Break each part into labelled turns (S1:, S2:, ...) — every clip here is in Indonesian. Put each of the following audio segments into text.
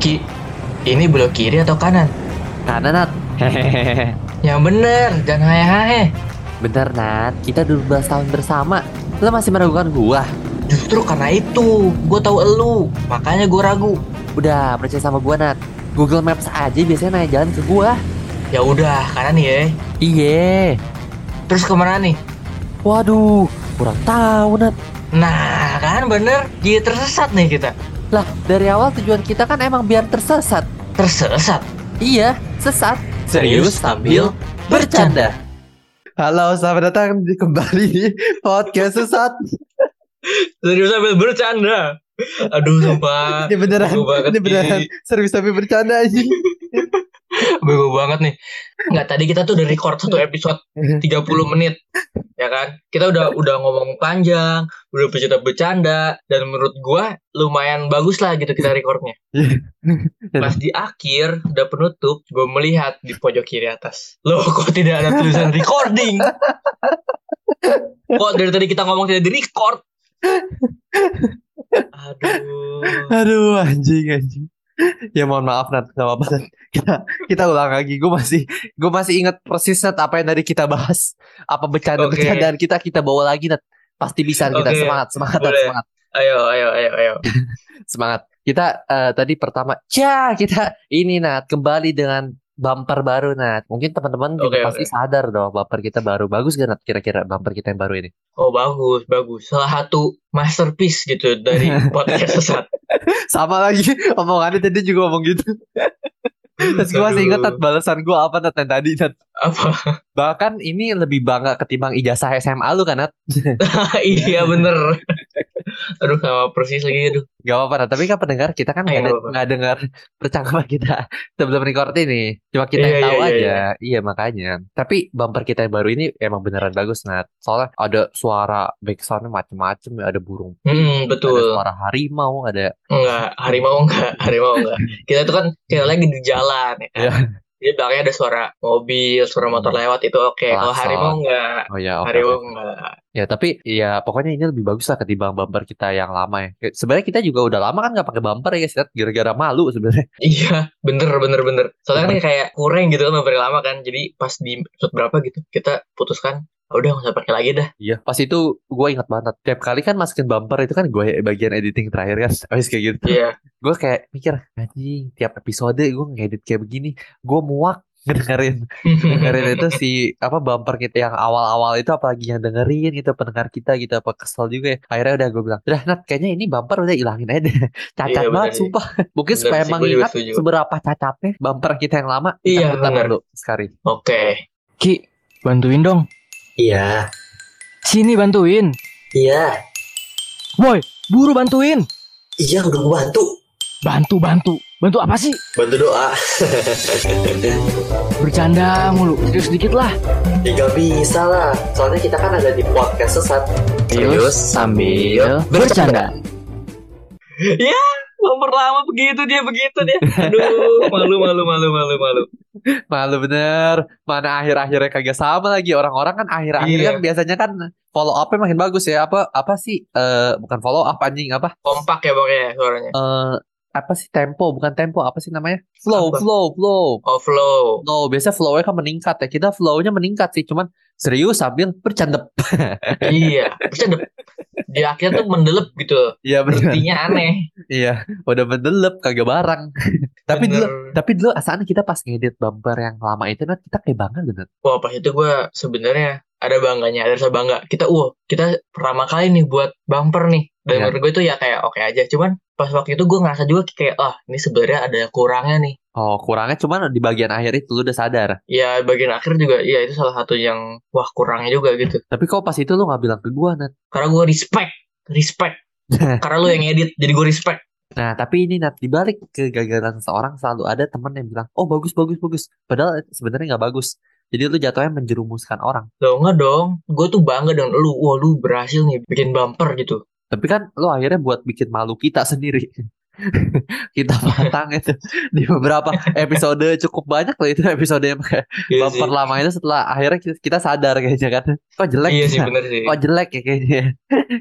S1: Ki, ini belok kiri atau kanan?
S2: Karena Nat. Hehehe.
S1: Yang bener, jangan hae-hae.
S2: Bener Nat, kita 12 tahun bersama. Lo masih meragukan gua?
S1: Justru karena itu, gue tahu elu, makanya gue ragu.
S2: Udah, percaya sama gua Nat. Google Maps aja biasanya naik jalan ke gua.
S1: Ya udah, kanan ya. Iya.
S2: Iye.
S1: Terus kemana nih?
S2: Waduh, kurang tahu Nat.
S1: Nah, kan bener, jadi tersesat nih kita.
S2: Lah, dari awal tujuan kita kan emang biar tersesat.
S1: Tersesat.
S2: Iya, sesat.
S1: Serius, stabil, bercanda.
S2: Halo, selamat datang di- kembali di podcast sesat.
S1: Serius sambil bercanda. Aduh, sumpah.
S2: Ini beneran,
S1: Bego banget,
S2: ini beneran
S1: Ki.
S2: serius tapi bercanda aja.
S1: Bego banget nih. Nggak, tadi kita tuh udah record satu episode 30
S2: Hmm.
S1: menit. Ya kan? Kita udah udah ngomong panjang, udah bercanda-bercanda. Dan menurut gua lumayan bagus lah gitu kita recordnya.
S2: Iya.
S1: Pas di akhir, udah penutup, gue melihat di pojok kiri atas. Loh, kok tidak ada tulisan recording? Kok dari tadi kita ngomong tidak di-record? Aduh.
S2: Aduh, anjing anjing. Ya mohon maaf Nat, gak apa-apa Nat. Kita, kita ulang lagi. Gue masih gue masih ingat persis Nat apa yang tadi kita bahas. Apa bercanda-bercandaan kita kita bawa lagi Nat. Pasti bisa kita
S1: Oke.
S2: semangat, semangat Nat,
S1: Boleh.
S2: semangat.
S1: Ayo, ayo, ayo, ayo.
S2: Semangat. Kita eh, tadi pertama, ya kita ini Nat kembali dengan bumper baru Nat. Mungkin teman-teman juga
S1: Oke, oke.
S2: pasti sadar dong bumper kita baru. Bagus gak Nat kira-kira bumper kita yang baru ini?
S1: Oh bagus, bagus. Salah satu masterpiece gitu dari podcast sesat.
S2: Sama lagi omongannya tadi juga ngomong gitu. Terus gue masih ingat Nat
S1: Aduh,
S2: balasan gue apa Nat yang tadi Nat.
S1: apa?
S2: Bahkan ini lebih bangga ketimbang ijazah SMA lu kan, Nat?
S1: iya bener. aduh sama persis lagi aduh.
S2: Gak apa-apa, Nat. Tapi kan pendengar kita kan
S1: Iya,
S2: nggak ada,
S1: nggak apa-apa.
S2: nggak dengar percakapan kita sebelum record ini. Cuma kita yang
S1: Iya,
S2: tahu
S1: iya, iya,
S2: aja. Iya, makanya. Tapi bumper kita yang baru ini emang beneran bagus, Nat. Soalnya ada suara backsoundnya macem-macem. ya. Ada burung,
S1: Hmm,
S2: ada
S1: betul.
S2: suara harimau, ada...
S1: Enggak, harimau enggak, harimau enggak. Kita tuh kan kita lagi di jalan ya. kan?
S2: Iya.
S1: Jadi belakangnya ada suara mobil, suara motor lewat itu oke. Kalau
S2: Klakson.
S1: harimau enggak,
S2: Oh ya, oke.
S1: harimau enggak.
S2: Ya, tapi ya pokoknya ini lebih bagus lah ketimbang bumper kita yang lama ya. Kayak- Sebenarnya kita juga udah lama kan nggak pakai bumper ya, Nat. Gara-gara malu sebenarnya.
S1: Iya, bener, bener, bener. Soalnya
S2: Hmm.
S1: kan kayak kurang gitu kan beberapa lama kan. Jadi pas di episode berapa gitu, kita putuskan, "Ah, udah nggak usah pakai lagi dah.
S2: Iya, pas itu gue ingat banget. Nat. Tiap kali kan masukin bumper itu kan gue bagian editing terakhir kan, habis kayak gitu.
S1: Iya,
S2: Gue kayak mikir, anjing, tiap episode gue ngedit kayak begini, gue muak ngedengerin dengerin itu si apa bumper kita yang awal-awal itu apalagi yang dengerin gitu pendengar kita gitu apa kesel juga ya akhirnya udah gue bilang udah Nat kayaknya ini bumper udah hilangin aja deh
S1: Iya,
S2: cacat
S1: bener
S2: banget
S1: sih.
S2: sumpah mungkin
S1: Bener
S2: supaya
S1: sih, gua juga
S2: mengingat
S1: setuju.
S2: seberapa cacatnya bumper kita yang lama kita
S1: Iya,
S2: putar
S1: bener.
S2: dulu sekali
S1: Oke.
S3: Ki, bantuin dong.
S4: Iya,
S3: Sini bantuin.
S4: iya,
S3: Woi, buru bantuin.
S4: iya udah gue bantu.
S3: Bantu, bantu. Bantu apa sih?
S4: Bantu doa.
S3: Bercanda mulu. Serius dikit lah.
S4: Ya gak bisa lah, soalnya kita kan ada di podcast sesat.
S3: Serius
S4: sambil
S3: bercanda.
S1: Ya, nomor lama begitu dia begitu dia. Aduh, malu malu malu malu malu.
S2: Malu bener Mana akhir-akhirnya kagak sama lagi Orang-orang kan akhir-akhir
S1: Iya.
S2: kan Biasanya kan follow up-nya makin bagus ya Apa apa sih eh Bukan follow up anjing Apa
S1: Kompak ya pokoknya ya suaranya.
S2: eh apa sih tempo Bukan tempo Apa sih namanya Flow
S1: Apa?
S2: flow flow
S1: Overflow.
S2: Flow Biasanya flow-nya kan meningkat ya Kita flow-nya meningkat sih Cuman serius sambil bercanda
S1: iya, bisa de- di akhir tuh mendelep gitu.
S2: Iya bener
S1: Intinya aneh.
S2: Iya Udah mendelep Kagak barang Tapi dulu
S1: Bener.
S2: Tapi dulu asalnya kita pas ngedit bumper yang lama itu Nat, Kita kayak bangga bener
S1: Wah, pas itu gua sebenarnya ada bangganya, ada rasa bangga. Kita uh, kita pertama kali nih buat bumper nih. Dan
S2: Iya.
S1: menurut gue itu ya kayak oke aja. Cuman pas waktu itu gue ngerasa juga kayak ah ini sebenarnya ada kurangnya nih.
S2: Oh kurangnya cuman di bagian akhir itu Lu udah sadar
S1: Ya bagian akhir juga, ya itu salah satu yang wah kurangnya juga gitu.
S2: Tapi kok pas itu lu gak bilang ke gua Nat
S1: Karena gue respect, respect. Karena lu yang edit, jadi gue respect.
S2: Nah, tapi ini Nat, dibalik kegagalan seseorang selalu ada teman yang bilang, oh bagus, bagus, bagus. Padahal sebenarnya nggak bagus. Jadi lu jatuhnya menjerumuskan orang.
S1: Loh enggak dong, gue tuh bangga dengan lu. Wah lu berhasil nih bikin bumper gitu.
S2: Tapi kan lu akhirnya buat bikin malu kita sendiri. kita pantang itu di beberapa episode cukup banyak loh itu episode yang kayak
S1: Iya sih.
S2: bumper lama itu setelah akhirnya kita, kita sadar kayaknya kan kok jelek
S1: Iya
S2: ya?
S1: sih bener sih.
S2: kok jelek ya kayaknya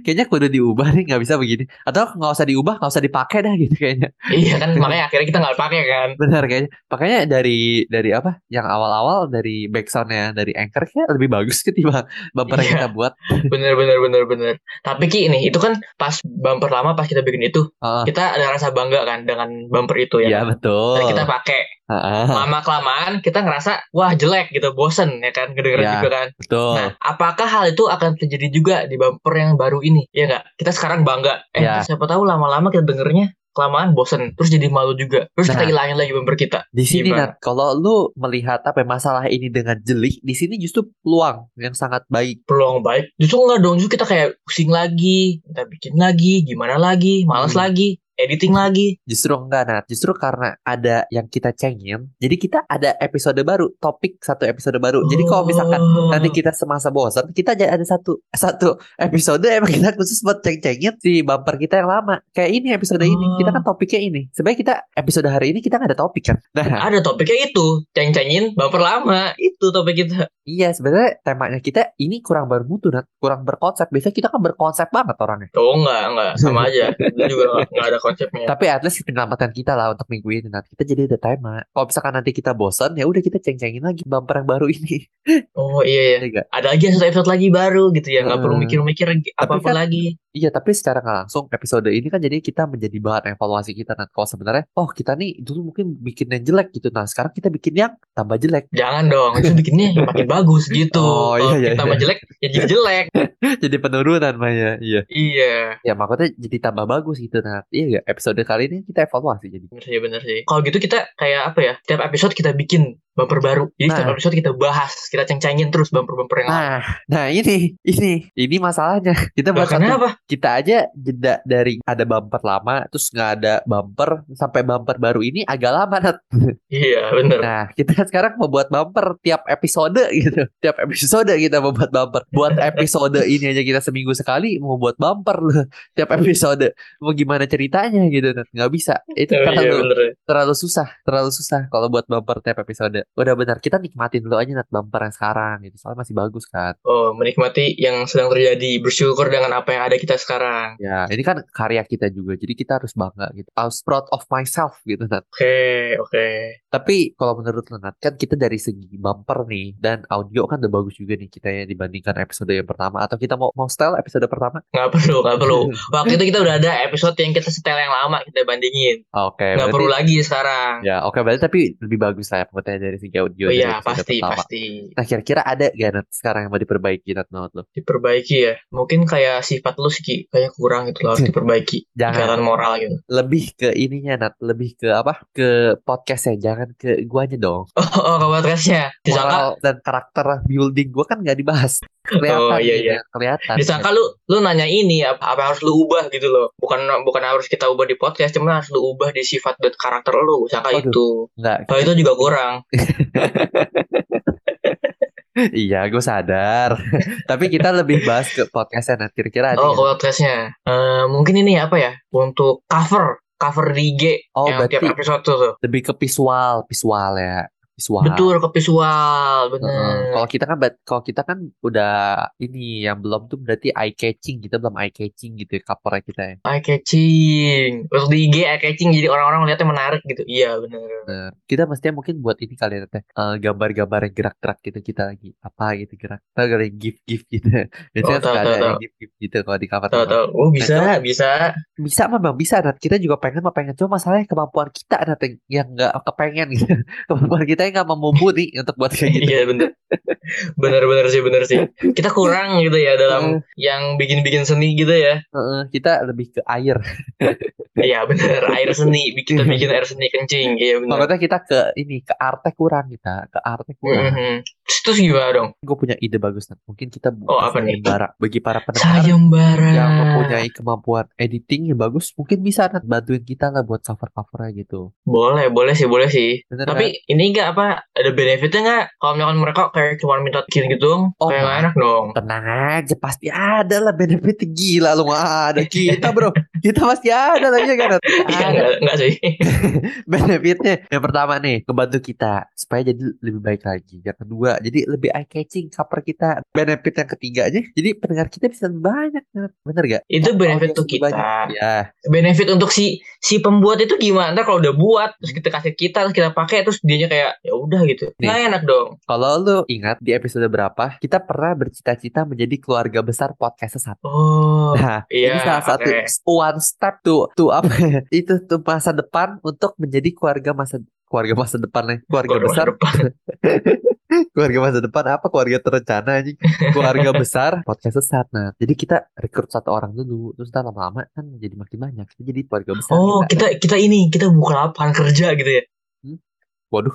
S2: kayaknya kudu diubah nih nggak bisa begini atau nggak usah diubah nggak usah dipakai dah gitu kayaknya
S1: Iya kan makanya akhirnya kita nggak pakai kan.
S2: benar kayaknya makanya dari dari apa yang awal-awal dari backsoundnya dari anchor kayak lebih bagus ketimbang bumper yang
S1: Iya.
S2: kita buat
S1: Bener bener bener bener. Tapi Ki ini itu kan pas bumper lama pas kita bikin itu
S2: Heeh.
S1: kita ada rasa bangga kan dengan bumper itu ya.
S2: Ah. Iya betul
S1: Dan kita pakai
S2: Heeh,
S1: lama kelamaan kita ngerasa wah jelek gitu bosen ya kan kedengeran
S2: Iya.
S1: juga kan.
S2: betul
S1: Nah, apakah hal itu akan terjadi juga di bumper yang baru ini? Ya nggak? Kita sekarang bangga. Eh,
S2: Ya.
S1: siapa tahu lama-lama kita dengernya kelamaan bosen, terus jadi malu juga. Terus kita
S2: Nah.
S1: hilangin lagi bumper kita.
S2: Di sini
S1: Gimana?
S2: Nat, kalau lu melihat apa ya, masalah ini dengan jeli, di sini justru peluang yang sangat baik.
S1: Peluang baik. Justru nggak dong, justru kita kayak pusing lagi, kita bikin lagi, gimana lagi, malas
S2: Hmm.
S1: lagi, editing lagi.
S2: Justru enggak Nat, justru karena ada yang kita cengin, jadi kita ada episode baru, topik satu episode baru. Jadi kalau misalkan
S1: Oh.
S2: nanti kita semasa bosan, kita aja ada satu satu episode emang kita khusus buat ceng-cengin si bumper kita yang lama. Kayak ini episode ini, kita kan topiknya ini. Sebenarnya kita episode hari ini kita nggak ada topik kan. Nah,
S1: ada topiknya itu, ceng-cengin bumper lama. Itu topik kita.
S2: iya sebenarnya temanya kita ini kurang bermutu Nat, kurang berkonsep. Biasanya kita kan berkonsep banget orangnya.
S1: Oh enggak, enggak, sama aja. Itu juga nggak- nggak ada konsepnya.
S2: Tapi at least penyelamatan kita lah untuk minggu ini nanti kita jadi ada tema. Kalau misalkan nanti kita bosan ya udah kita ceng-cengin lagi bumper yang baru ini.
S1: Oh iya, iya.
S2: Iya nggak?
S1: Ada lagi satu episode lagi baru gitu ya, nggak perlu
S2: Hmm.
S1: mikir-mikir apa-apa
S2: kan-
S1: lagi.
S2: Iya tapi secara nggak langsung episode ini kan jadi kita menjadi bahan evaluasi kita nanti. Kalau sebenarnya oh kita nih dulu mungkin bikin yang jelek gitu. Nah sekarang kita bikin yang tambah jelek.
S1: Jangan dong, itu bikinnya makin bagus gitu.
S2: Oh,
S1: Kalau
S2: iya, iya,
S1: tambah jelek, ya jadi jelek.
S2: jadi penurunan Maya. Iya.
S1: iya,
S2: Ya maksudnya jadi tambah bagus gitu Nat. Iya nggak? Episode kali ini kita evaluasi jadi.
S1: bener sih, bener sih. Kalau gitu kita kayak apa ya, setiap episode kita bikin bumper baru. Jadi setiap
S2: Nah.
S1: episode kita bahas, kita ceng-cengin terus bumper-bumper yang lama.
S2: Nah, nah ini, ini, ini masalahnya. Kita
S1: Loh,
S2: buat satu
S1: kenapa?
S2: kita aja jeda dari ada bumper lama terus nggak ada bumper sampai bumper baru ini agak lama Nat.
S1: Iya, bener.
S2: Nah kita sekarang membuat bumper tiap episode gitu tiap episode kita membuat bumper buat episode ini aja kita seminggu sekali mau buat bumper loh tiap episode mau gimana ceritanya gitu Nat nggak bisa itu
S1: Oh, iya,
S2: terlalu
S1: bener.
S2: terlalu susah terlalu susah kalau buat bumper tiap episode udah benar kita nikmatin dulu aja Nat bumper yang sekarang gitu soalnya masih bagus kan
S1: Oh, menikmati yang sedang terjadi, bersyukur dengan apa yang ada kita sekarang.
S2: ya ini kan karya kita juga jadi kita harus bangga gitu I was proud of myself gitu Nat
S1: Oke, oke.
S2: Tapi kalau menurut Lenat kan kita dari segi bumper nih dan audio kan udah bagus juga nih kita ya dibandingkan episode yang pertama atau kita mau mau style episode pertama?
S1: Nggak perlu, nggak perlu. Waktu itu kita udah ada episode yang kita setel yang lama, kita bandingin. Nggak
S2: Oke, Eh, berarti
S1: perlu lagi sekarang.
S2: ya oke berarti tapi lebih bagus lah ya pokoknya dari segi audio
S1: Oh
S2: dari
S1: iya,
S2: episode
S1: pasti,
S2: pertama.
S1: pasti.
S2: Nah kira-kira ada gak Nat sekarang yang mau diperbaiki Nat menurut lo?
S1: diperbaiki ya mungkin kayak sifat lu sih Ki. kayak kurang gitu loh harus
S2: Hmm.
S1: diperbaiki
S2: Jangan
S1: ikatan moral gitu
S2: lebih ke ininya Nat, lebih ke apa? Ke podcastnya, jangan ke guanya dong.
S1: oh, oh ke podcastnya disangka
S2: Moral dan karakter building gua kan nggak dibahas. Kelihatan
S1: Oh, iya,
S2: nih,
S1: iya.
S2: Nat, kelihatan.
S1: disangka lu lu nanya ini apa, apa yang harus lu ubah gitu loh bukan bukan harus kita ubah di podcast cuman harus lu ubah di sifat dan karakter lu sangka
S2: Waduh.
S1: itu
S2: Nggak,
S1: kalau itu juga kurang
S2: Iya, gue sadar. Tapi kita lebih bahas ke podcastnya nanti kira-kira ada.
S1: oh
S2: ya?
S1: ke podcastnya Eh, mungkin ini apa ya untuk cover cover di IG
S2: Oh,
S1: yang tiap
S2: berarti-
S1: episode tuh, tuh.
S2: lebih ke visual, visual ya, visual.
S1: betul ke visual
S2: Heeh.
S1: bener
S2: Kalau kita kan, bat- kalau kita kan udah ini yang belum tuh berarti eye catching kita belum eye catching gitu ya covernya kita ya.
S1: eye catching terus di IG eye catching jadi orang-orang melihatnya menarik gitu iya bener
S2: Bener. Kita mestinya mungkin buat ini kali ya teh eh, gambar-gambar yang gerak-gerak gitu kita lagi apa gitu gerak, Tau gak ada yang gif-gif gitu. Biasanya
S1: tahu, tahu,
S2: suka ada yang
S1: tahu.
S2: gif-gif gitu kalau di cover.
S1: Tahu tahu. Oh bisa bisa.
S2: Bisa memang bisa Nat. Kita juga pengen mah pengen cuma masalahnya kemampuan kita Nat yang- yang nggak kepengen gitu. Kemampuan kita yang nggak mumpuni untuk buat kayak gitu.
S1: Iya bener. Bener bener sih bener sih. Kita kurang gitu ya dalam
S2: Hmm.
S1: yang bikin-bikin seni gitu ya.
S2: Heeh, kita lebih ke air.
S1: Iya bener. Air seni. Bikin kita
S2: Hmm.
S1: bikin air seni kencing. Iya bener.
S2: Makanya kita ke ini ke arte kurang kita, ke arte kurang.
S1: Mhm. Terus, terus gimana dong?
S2: Gue punya ide bagus Nat. Mungkin kita
S1: Oh, apa nih?
S2: sayembara. bagi para pendengar
S1: Sayembara.
S2: yang mempunyai kemampuan editing yang bagus, mungkin bisa Nat bantuin kita lah buat cover-covernya gitu.
S1: Boleh boleh sih boleh sih.
S2: Bener
S1: Tapi
S2: Nat?
S1: ini enggak apa ada benefitnya enggak? Kalau misalkan mereka kayak cuma minta bikin gitu,
S2: Oh,
S1: kayak nggak enak dong.
S2: tenang aja pasti ada lah benefit gila lu mah ada kita bro Kita pasti ada tapi ya
S1: Iya,
S2: kan. Ada
S1: enggak, enggak sih.
S2: benefitnya. Yang pertama nih, ngebantu kita supaya jadi lebih baik lagi. Yang kedua, jadi lebih eye catching cover kita. Benefit yang ketiganya, jadi pendengar kita bisa lebih banyak. Bener gak?
S1: Itu benefit
S2: Audience
S1: untuk
S2: lebih Nah, banyak.
S1: kita.
S2: Ya,
S1: benefit untuk si si pembuat itu gimana Ntar kalau udah buat terus kita kasih kita terus kita pakai terus dianya kayak ya udah gitu
S2: Nih.
S1: nggak enak dong
S2: kalau lu ingat di episode berapa, kita pernah bercita-cita menjadi keluarga besar podcast sesat.
S1: oh
S2: Nah,
S1: iya
S2: Ini salah satu
S1: oke.
S2: one step to to apa ya, itu tuh masa depan untuk menjadi keluarga masa keluarga masa depan nih. keluarga
S1: Keluarga
S2: besar
S1: depan.
S2: keluarga masa depan apa keluarga terencana anjing keluarga besar podcast sesat nah jadi kita rekrut satu orang dulu terus ntar lama-lama kan jadi makin banyak kita jadi keluarga besar
S1: oh
S2: kita.
S1: kita kita ini kita buka lapangan kerja gitu ya
S2: waduh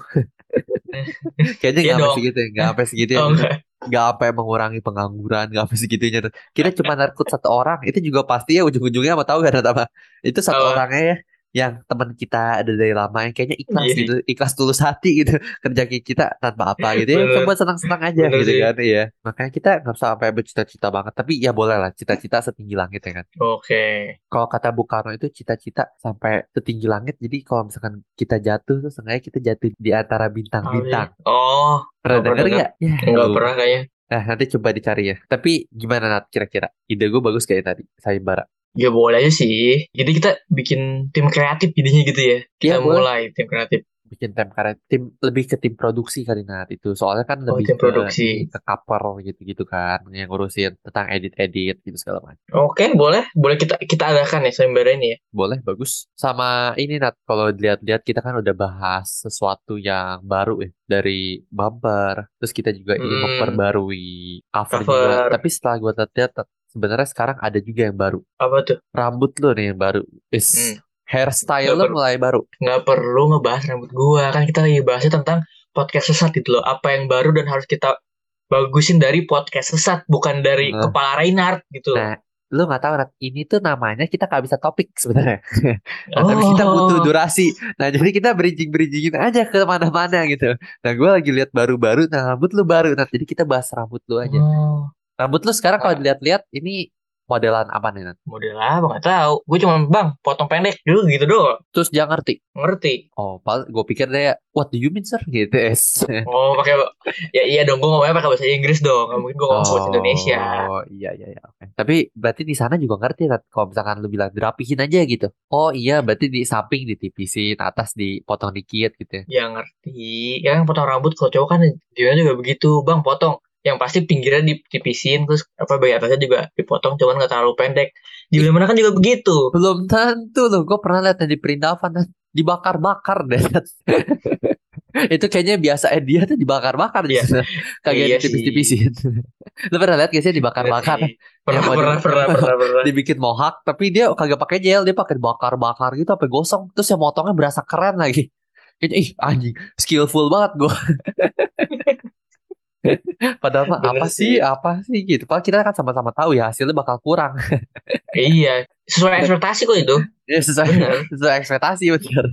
S2: kayaknya
S1: Iya
S2: nggak sampai
S1: dong.
S2: segitu ya nggak sampai segitu ya
S1: oh enggak
S2: nggak apa yang mengurangi pengangguran nggak apa segitunya kita cuma rekrut satu orang itu juga pasti ya ujung-ujungnya apa tahu gak ada apa itu satu
S1: Apa?
S2: orangnya ya yang teman kita ada dari lama yang kayaknya ikhlas
S1: Iya.
S2: gitu ikhlas tulus hati gitu kerja kita tanpa apa gitu ya
S1: Bener.
S2: coba senang-senang aja
S1: Bener
S2: gitu
S1: sih.
S2: kan iya makanya kita nggak usah sampai bercita-cita banget tapi ya boleh lah cita-cita setinggi langit ya kan
S1: oke
S2: kalau kata Bung Karno itu cita-cita sampai setinggi langit jadi kalau misalkan kita jatuh tuh sengaja kita jatuh di antara bintang-bintang
S1: oh Nggak
S2: pernah
S1: pernah
S2: denger nggak ya,
S1: nggak
S2: lu.
S1: pernah kayaknya
S2: Nah, nanti coba dicari ya. Tapi gimana Nat kira-kira? Ide gue bagus kayak tadi, sayembara.
S1: ya boleh aja sih jadi kita bikin tim kreatif jadinya gitu ya kita
S2: Iya, boleh.
S1: mulai tim kreatif
S2: Bikin tim karet, tim lebih ke tim produksi kali Nat itu. Soalnya kan
S1: Oh, tim
S2: lebih ke,
S1: produksi.
S2: ke cover gitu-gitu kan, yang ngurusin tentang edit-edit gitu segala macam.
S1: oke boleh boleh kita kita adakan ya sembara ini ya
S2: Boleh, bagus. Sama ini Nat, kalau dilihat-lihat kita kan udah bahas sesuatu yang baru ya dari bumper. Terus kita juga ingin
S1: Hmm.
S2: memperbarui cover,
S1: Cover.
S2: juga. Tapi setelah gue lihat-lihat sebenarnya sekarang ada juga yang baru.
S1: apa tuh
S2: Rambut lo nih yang baru. Is
S1: Hmm.
S2: hairstyle
S1: Nggak
S2: lo
S1: perlu.
S2: mulai baru.
S1: nggak perlu ngebahas rambut gua kan kita lagi bahasnya tentang podcast sesat gitu loh apa yang baru dan harus kita bagusin dari podcast sesat bukan dari
S2: Nah.
S1: kepala Reinhardt gitu
S2: Nah, lu nggak tahu Nat, ini tuh namanya kita nggak bisa topik sebenarnya. Nah,
S1: Oh.
S2: tapi kita butuh durasi. Nah, jadi kita bridging bridgingin aja ke mana-mana gitu. Nah, gue lagi lihat baru-baru, nah rambut lu baru, Nat. Jadi kita bahas rambut lu aja.
S1: Oh,
S2: Rambut lu sekarang kalau
S1: Ah.
S2: dilihat-lihat ini modelan apa nih Nat?
S1: model apa nggak tahu gue cuma bang potong pendek dulu gitu doang
S2: Terus dia ngerti.
S1: ngerti
S2: Oh, gue pikir dia, what do you mean sir? Gitu. es.
S1: oh pakai ya iya dong gue ngomongnya pakai bahasa Inggris dong nggak mungkin gue ngomong bahasa Indonesia
S2: Oh, iya iya iya. Oke. Tapi berarti di sana juga ngerti kan kalau misalkan lu bilang dirapihin aja gitu. Oh iya, berarti di samping ditipisin, atas dipotong dikit gitu. ya.
S1: ya ngerti ya kan potong rambut kalau cowok kan dia juga begitu bang potong yang pasti pinggirnya ditipisin terus apa bagian atasnya juga dipotong cuman nggak terlalu pendek di mana kan juga begitu
S2: Belum tentu loh, gue pernah lihat yang di Perindavan Nat. dibakar-bakar deh. Nat. Itu kayaknya biasa eh, dia tuh dibakar-bakar
S1: Iya.
S2: gitu. Kagak
S1: Iya
S2: ditipis-tipisin. Lu pernah lihat gak sih dibakar-bakar?
S1: pernah
S2: Ya,
S1: pernah
S2: model-
S1: pernah pernah pernah
S2: Dibikin mohak, tapi dia kagak pakai gel, dia pakai bakar-bakar gitu sampai gosong. Terus yang motongnya berasa keren lagi. Kayaknya ih anjing, skillful banget gue. Padahal mah
S1: Bener
S2: apa
S1: sih.
S2: sih, apa sih gitu. Padahal kita kan sama-sama tahu ya hasilnya bakal kurang.
S1: iya sesuai ekspektasi kok itu
S2: Ya sesuai
S1: Bener.
S2: sesuai ekspektasi bener.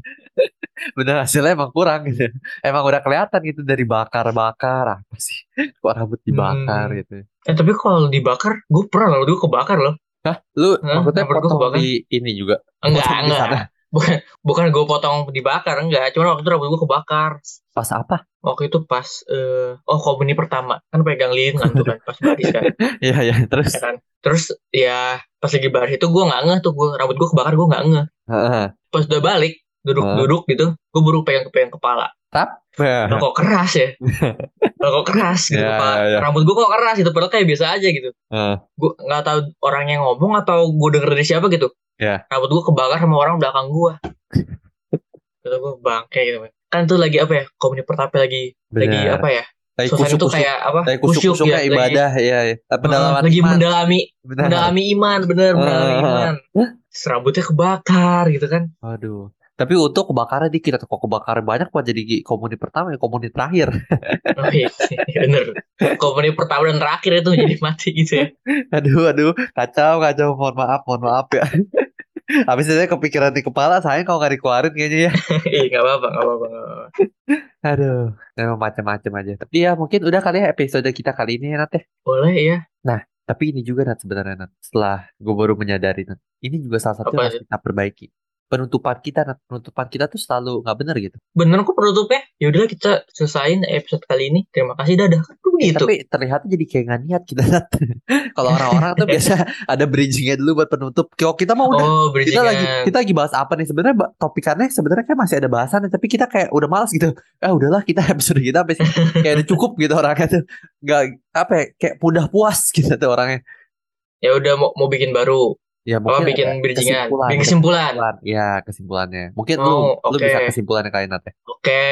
S2: Bener hasilnya emang kurang gitu. Emang udah kelihatan gitu dari bakar-bakar apa sih? Kok rambut dibakar
S1: Hmm.
S2: gitu.
S1: eh, tapi kalau dibakar gue pernah loh gue kebakar loh
S2: Hah, lu
S1: Hah,
S2: maksudnya
S1: rambut gua
S2: potong
S1: kebakar.
S2: di ini juga?
S1: enggak
S2: Potong di
S1: enggak
S2: sana.
S1: bukan bukan gue potong dibakar enggak cuman waktu itu rambut gue kebakar
S2: Pas apa?
S1: waktu itu pas eh oh komuni pertama kan pegang lilin kan tuh kan pas baris kan
S2: Iya iya terus.
S1: ya kan terus ya pas lagi baris itu gue nggak ngeh tuh gue rambut gue kebakar gue nggak ngeh
S2: Heeh.
S1: pas udah balik
S2: Hah?
S1: duduk-duduk gitu gue baru pegang pegang kepala
S2: Nah,
S1: Lah kok keras ya Lah kok keras gitu
S2: Ya,
S1: kepala
S2: ya, ya.
S1: rambut gue kok keras gitu padahal kayak biasa aja gitu
S2: Heeh.
S1: gue nggak tahu orang yang ngomong atau gue denger dari siapa gitu
S2: Ya.
S1: rambut gue kebakar sama orang belakang gue kata gue bangke gitu kan kan tuh lagi apa ya komuni pertama lagi lagi
S2: Bener.
S1: apa ya
S2: Lagi
S1: suasana itu
S2: kusuk-kusuk.
S1: kayak apa
S2: Lagi kusuk-kusuknya
S1: lagi-
S2: ibadah ya. ya. Eh, Pendalaman
S1: lagi
S2: iman.
S1: mendalami
S2: Benar.
S1: mendalami iman bener mendalami
S2: Nah. Ah.
S1: iman Terus rambutnya kebakar gitu kan
S2: Aduh. Tapi untuk kebakarnya dikit atau kok kebakaran banyak kok jadi komuni pertama ya komuni terakhir.
S1: oh, iya, bener komuni pertama dan terakhir itu jadi mati gitu ya
S2: Aduh, aduh, kacau, kacau. Mohon maaf, mohon maaf ya. Habis itu saya kepikiran di kepala, saya kalau nggak dikeluarin kayaknya ya.
S1: Ih, nggak apa-apa nggak apa-apa nggak apa-apa.
S2: Aduh, memang macam-macam aja. Tapi ya mungkin udah kali ya episode kita kali ini ya Nat ya.
S1: boleh ya
S2: Tapi ini juga Nat sebenarnya Nat. Setelah gue baru menyadari Nat. Ini juga salah satu yang
S1: Apa
S2: harus kita perbaiki. Penutupan kita Nat. Penutupan kita tuh selalu nggak bener gitu.
S1: Bener kok penutupnya. Yaudahlah kita selesain episode kali ini. Terima kasih dadah. Kan begitu.
S2: Eh, Tapi terlihat jadi kayak nggak niat kita Nat. Kalau orang-orang tuh biasa ada bridgingnya dulu buat penutup. Kalau kita mau udah.
S1: oh,
S2: Kita
S1: bridgingan.
S2: lagi kita lagi bahas apa nih sebenarnya ba- topikannya sebenarnya kayak masih ada bahasannya tapi kita kayak udah malas gitu. Ah udahlah kita episode kita habis kayak udah cukup gitu orangnya tuh. Nggak apa ya, kayak udah puas gitu tuh orangnya.
S1: Ya udah mau, mau bikin baru.
S2: Ya
S1: Apa
S2: mungkin
S1: Oh, bikin
S2: ada
S1: bridgingan?
S2: kesimpulan.
S1: Bikin kesimpulan.
S2: kesimpulan. Ya, kesimpulannya. Mungkin lu
S1: Oh,
S2: lu
S1: oke.
S2: bisa kesimpulannya kali Nat ya.
S1: Oke.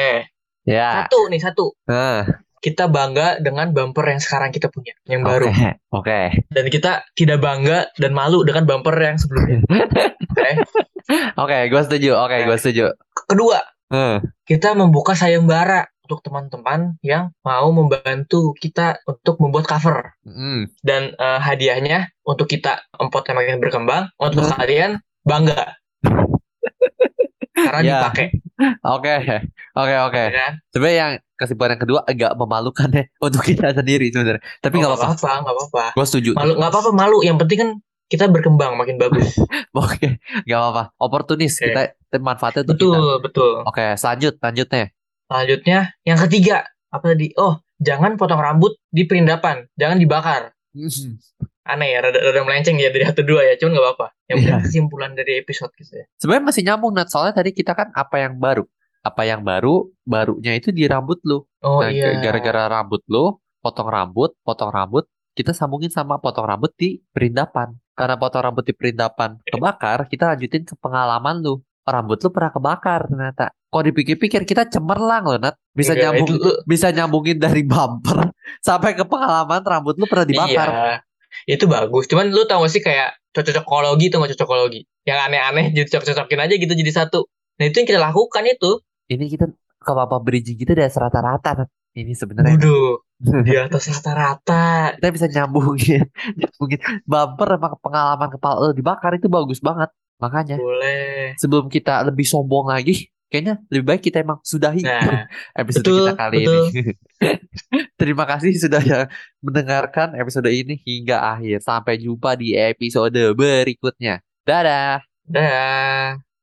S2: Ya.
S1: Satu nih, satu.
S2: Nah,
S1: Kita bangga dengan bumper yang sekarang kita punya, yang baru.
S2: Oke. Oke.
S1: Dan kita tidak bangga dan malu dengan bumper yang sebelumnya.
S2: Oke, gua setuju. Oke, gua setuju. Hmm,
S1: Kedua,
S2: Heeh.
S1: kita membuka sayembara untuk teman-teman yang mau membantu kita untuk membuat cover.
S2: Mm.
S1: dan eh, hadiahnya untuk kita empot yang makin berkembang untuk
S2: Hmm.
S1: kalian bangga karena
S2: Ya.
S1: dipakai
S2: Oke. Oke, oke.
S1: ya kan
S2: Sebenarnya yang kesimpulan yang kedua agak memalukan ya untuk kita sendiri sebenarnya. Tapi
S1: Oh,
S2: nggak
S1: nggak
S2: apa-apa.
S1: apa-apa nggak apa-apa
S2: Gua setuju.
S1: malu nggak apa-apa malu yang penting kan kita berkembang makin bagus
S2: Oke, nggak apa-apa. Oportunis
S1: Oke.
S2: kita kita manfaatnya untuk
S1: betul
S2: kita.
S1: betul
S2: Oke, lanjut lanjutnya.
S1: selanjutnya yang ketiga apa tadi oh jangan potong rambut di perindapan jangan dibakar aneh ya rada, rada melenceng ya dari satu dua ya cuman nggak apa-apa yang penting
S2: Iya.
S1: kesimpulan dari episode gitu ya
S2: Sebenarnya masih nyambung Nat, soalnya tadi kita kan apa yang baru. Apa yang baru, barunya itu di rambut lu.
S1: oh
S2: Nah,
S1: iya
S2: gara-gara rambut lo, potong rambut, potong rambut, kita sambungin sama potong rambut di perindapan. Karena potong rambut di perindapan kebakar, kita lanjutin ke pengalaman lu. Rambut lu pernah kebakar ternyata. Kok dipikir-pikir kita cemerlang loh, Nat. Bisa
S1: Enggak,
S2: nyambung,
S1: Iya, itu lu-
S2: bisa nyambungin dari bumper sampai ke pengalaman rambut lu pernah dibakar.
S1: Iya, itu bagus. Cuman lu tau gak sih kayak cocokologi itu gak cocokologi. Yang aneh-aneh jadi cocok-cocokin aja gitu jadi satu. Nah itu yang kita lakukan itu.
S2: Ini kita ke apa bridging kita udah rata-rata, Nat. Ini sebenarnya
S1: Waduh, di atas rata-rata.
S2: kita bisa nyambungin, nyambungin bumper sama pengalaman kepala lu dibakar itu bagus banget. Makanya
S1: Boleh.
S2: sebelum kita lebih sombong lagi, kayaknya lebih baik kita emang sudahi
S1: Nah,
S2: episode
S1: betul,
S2: kita kali
S1: betul.
S2: ini. Terima kasih sudah ya mendengarkan episode ini hingga akhir. Sampai jumpa di episode berikutnya. Dadah.
S1: dah.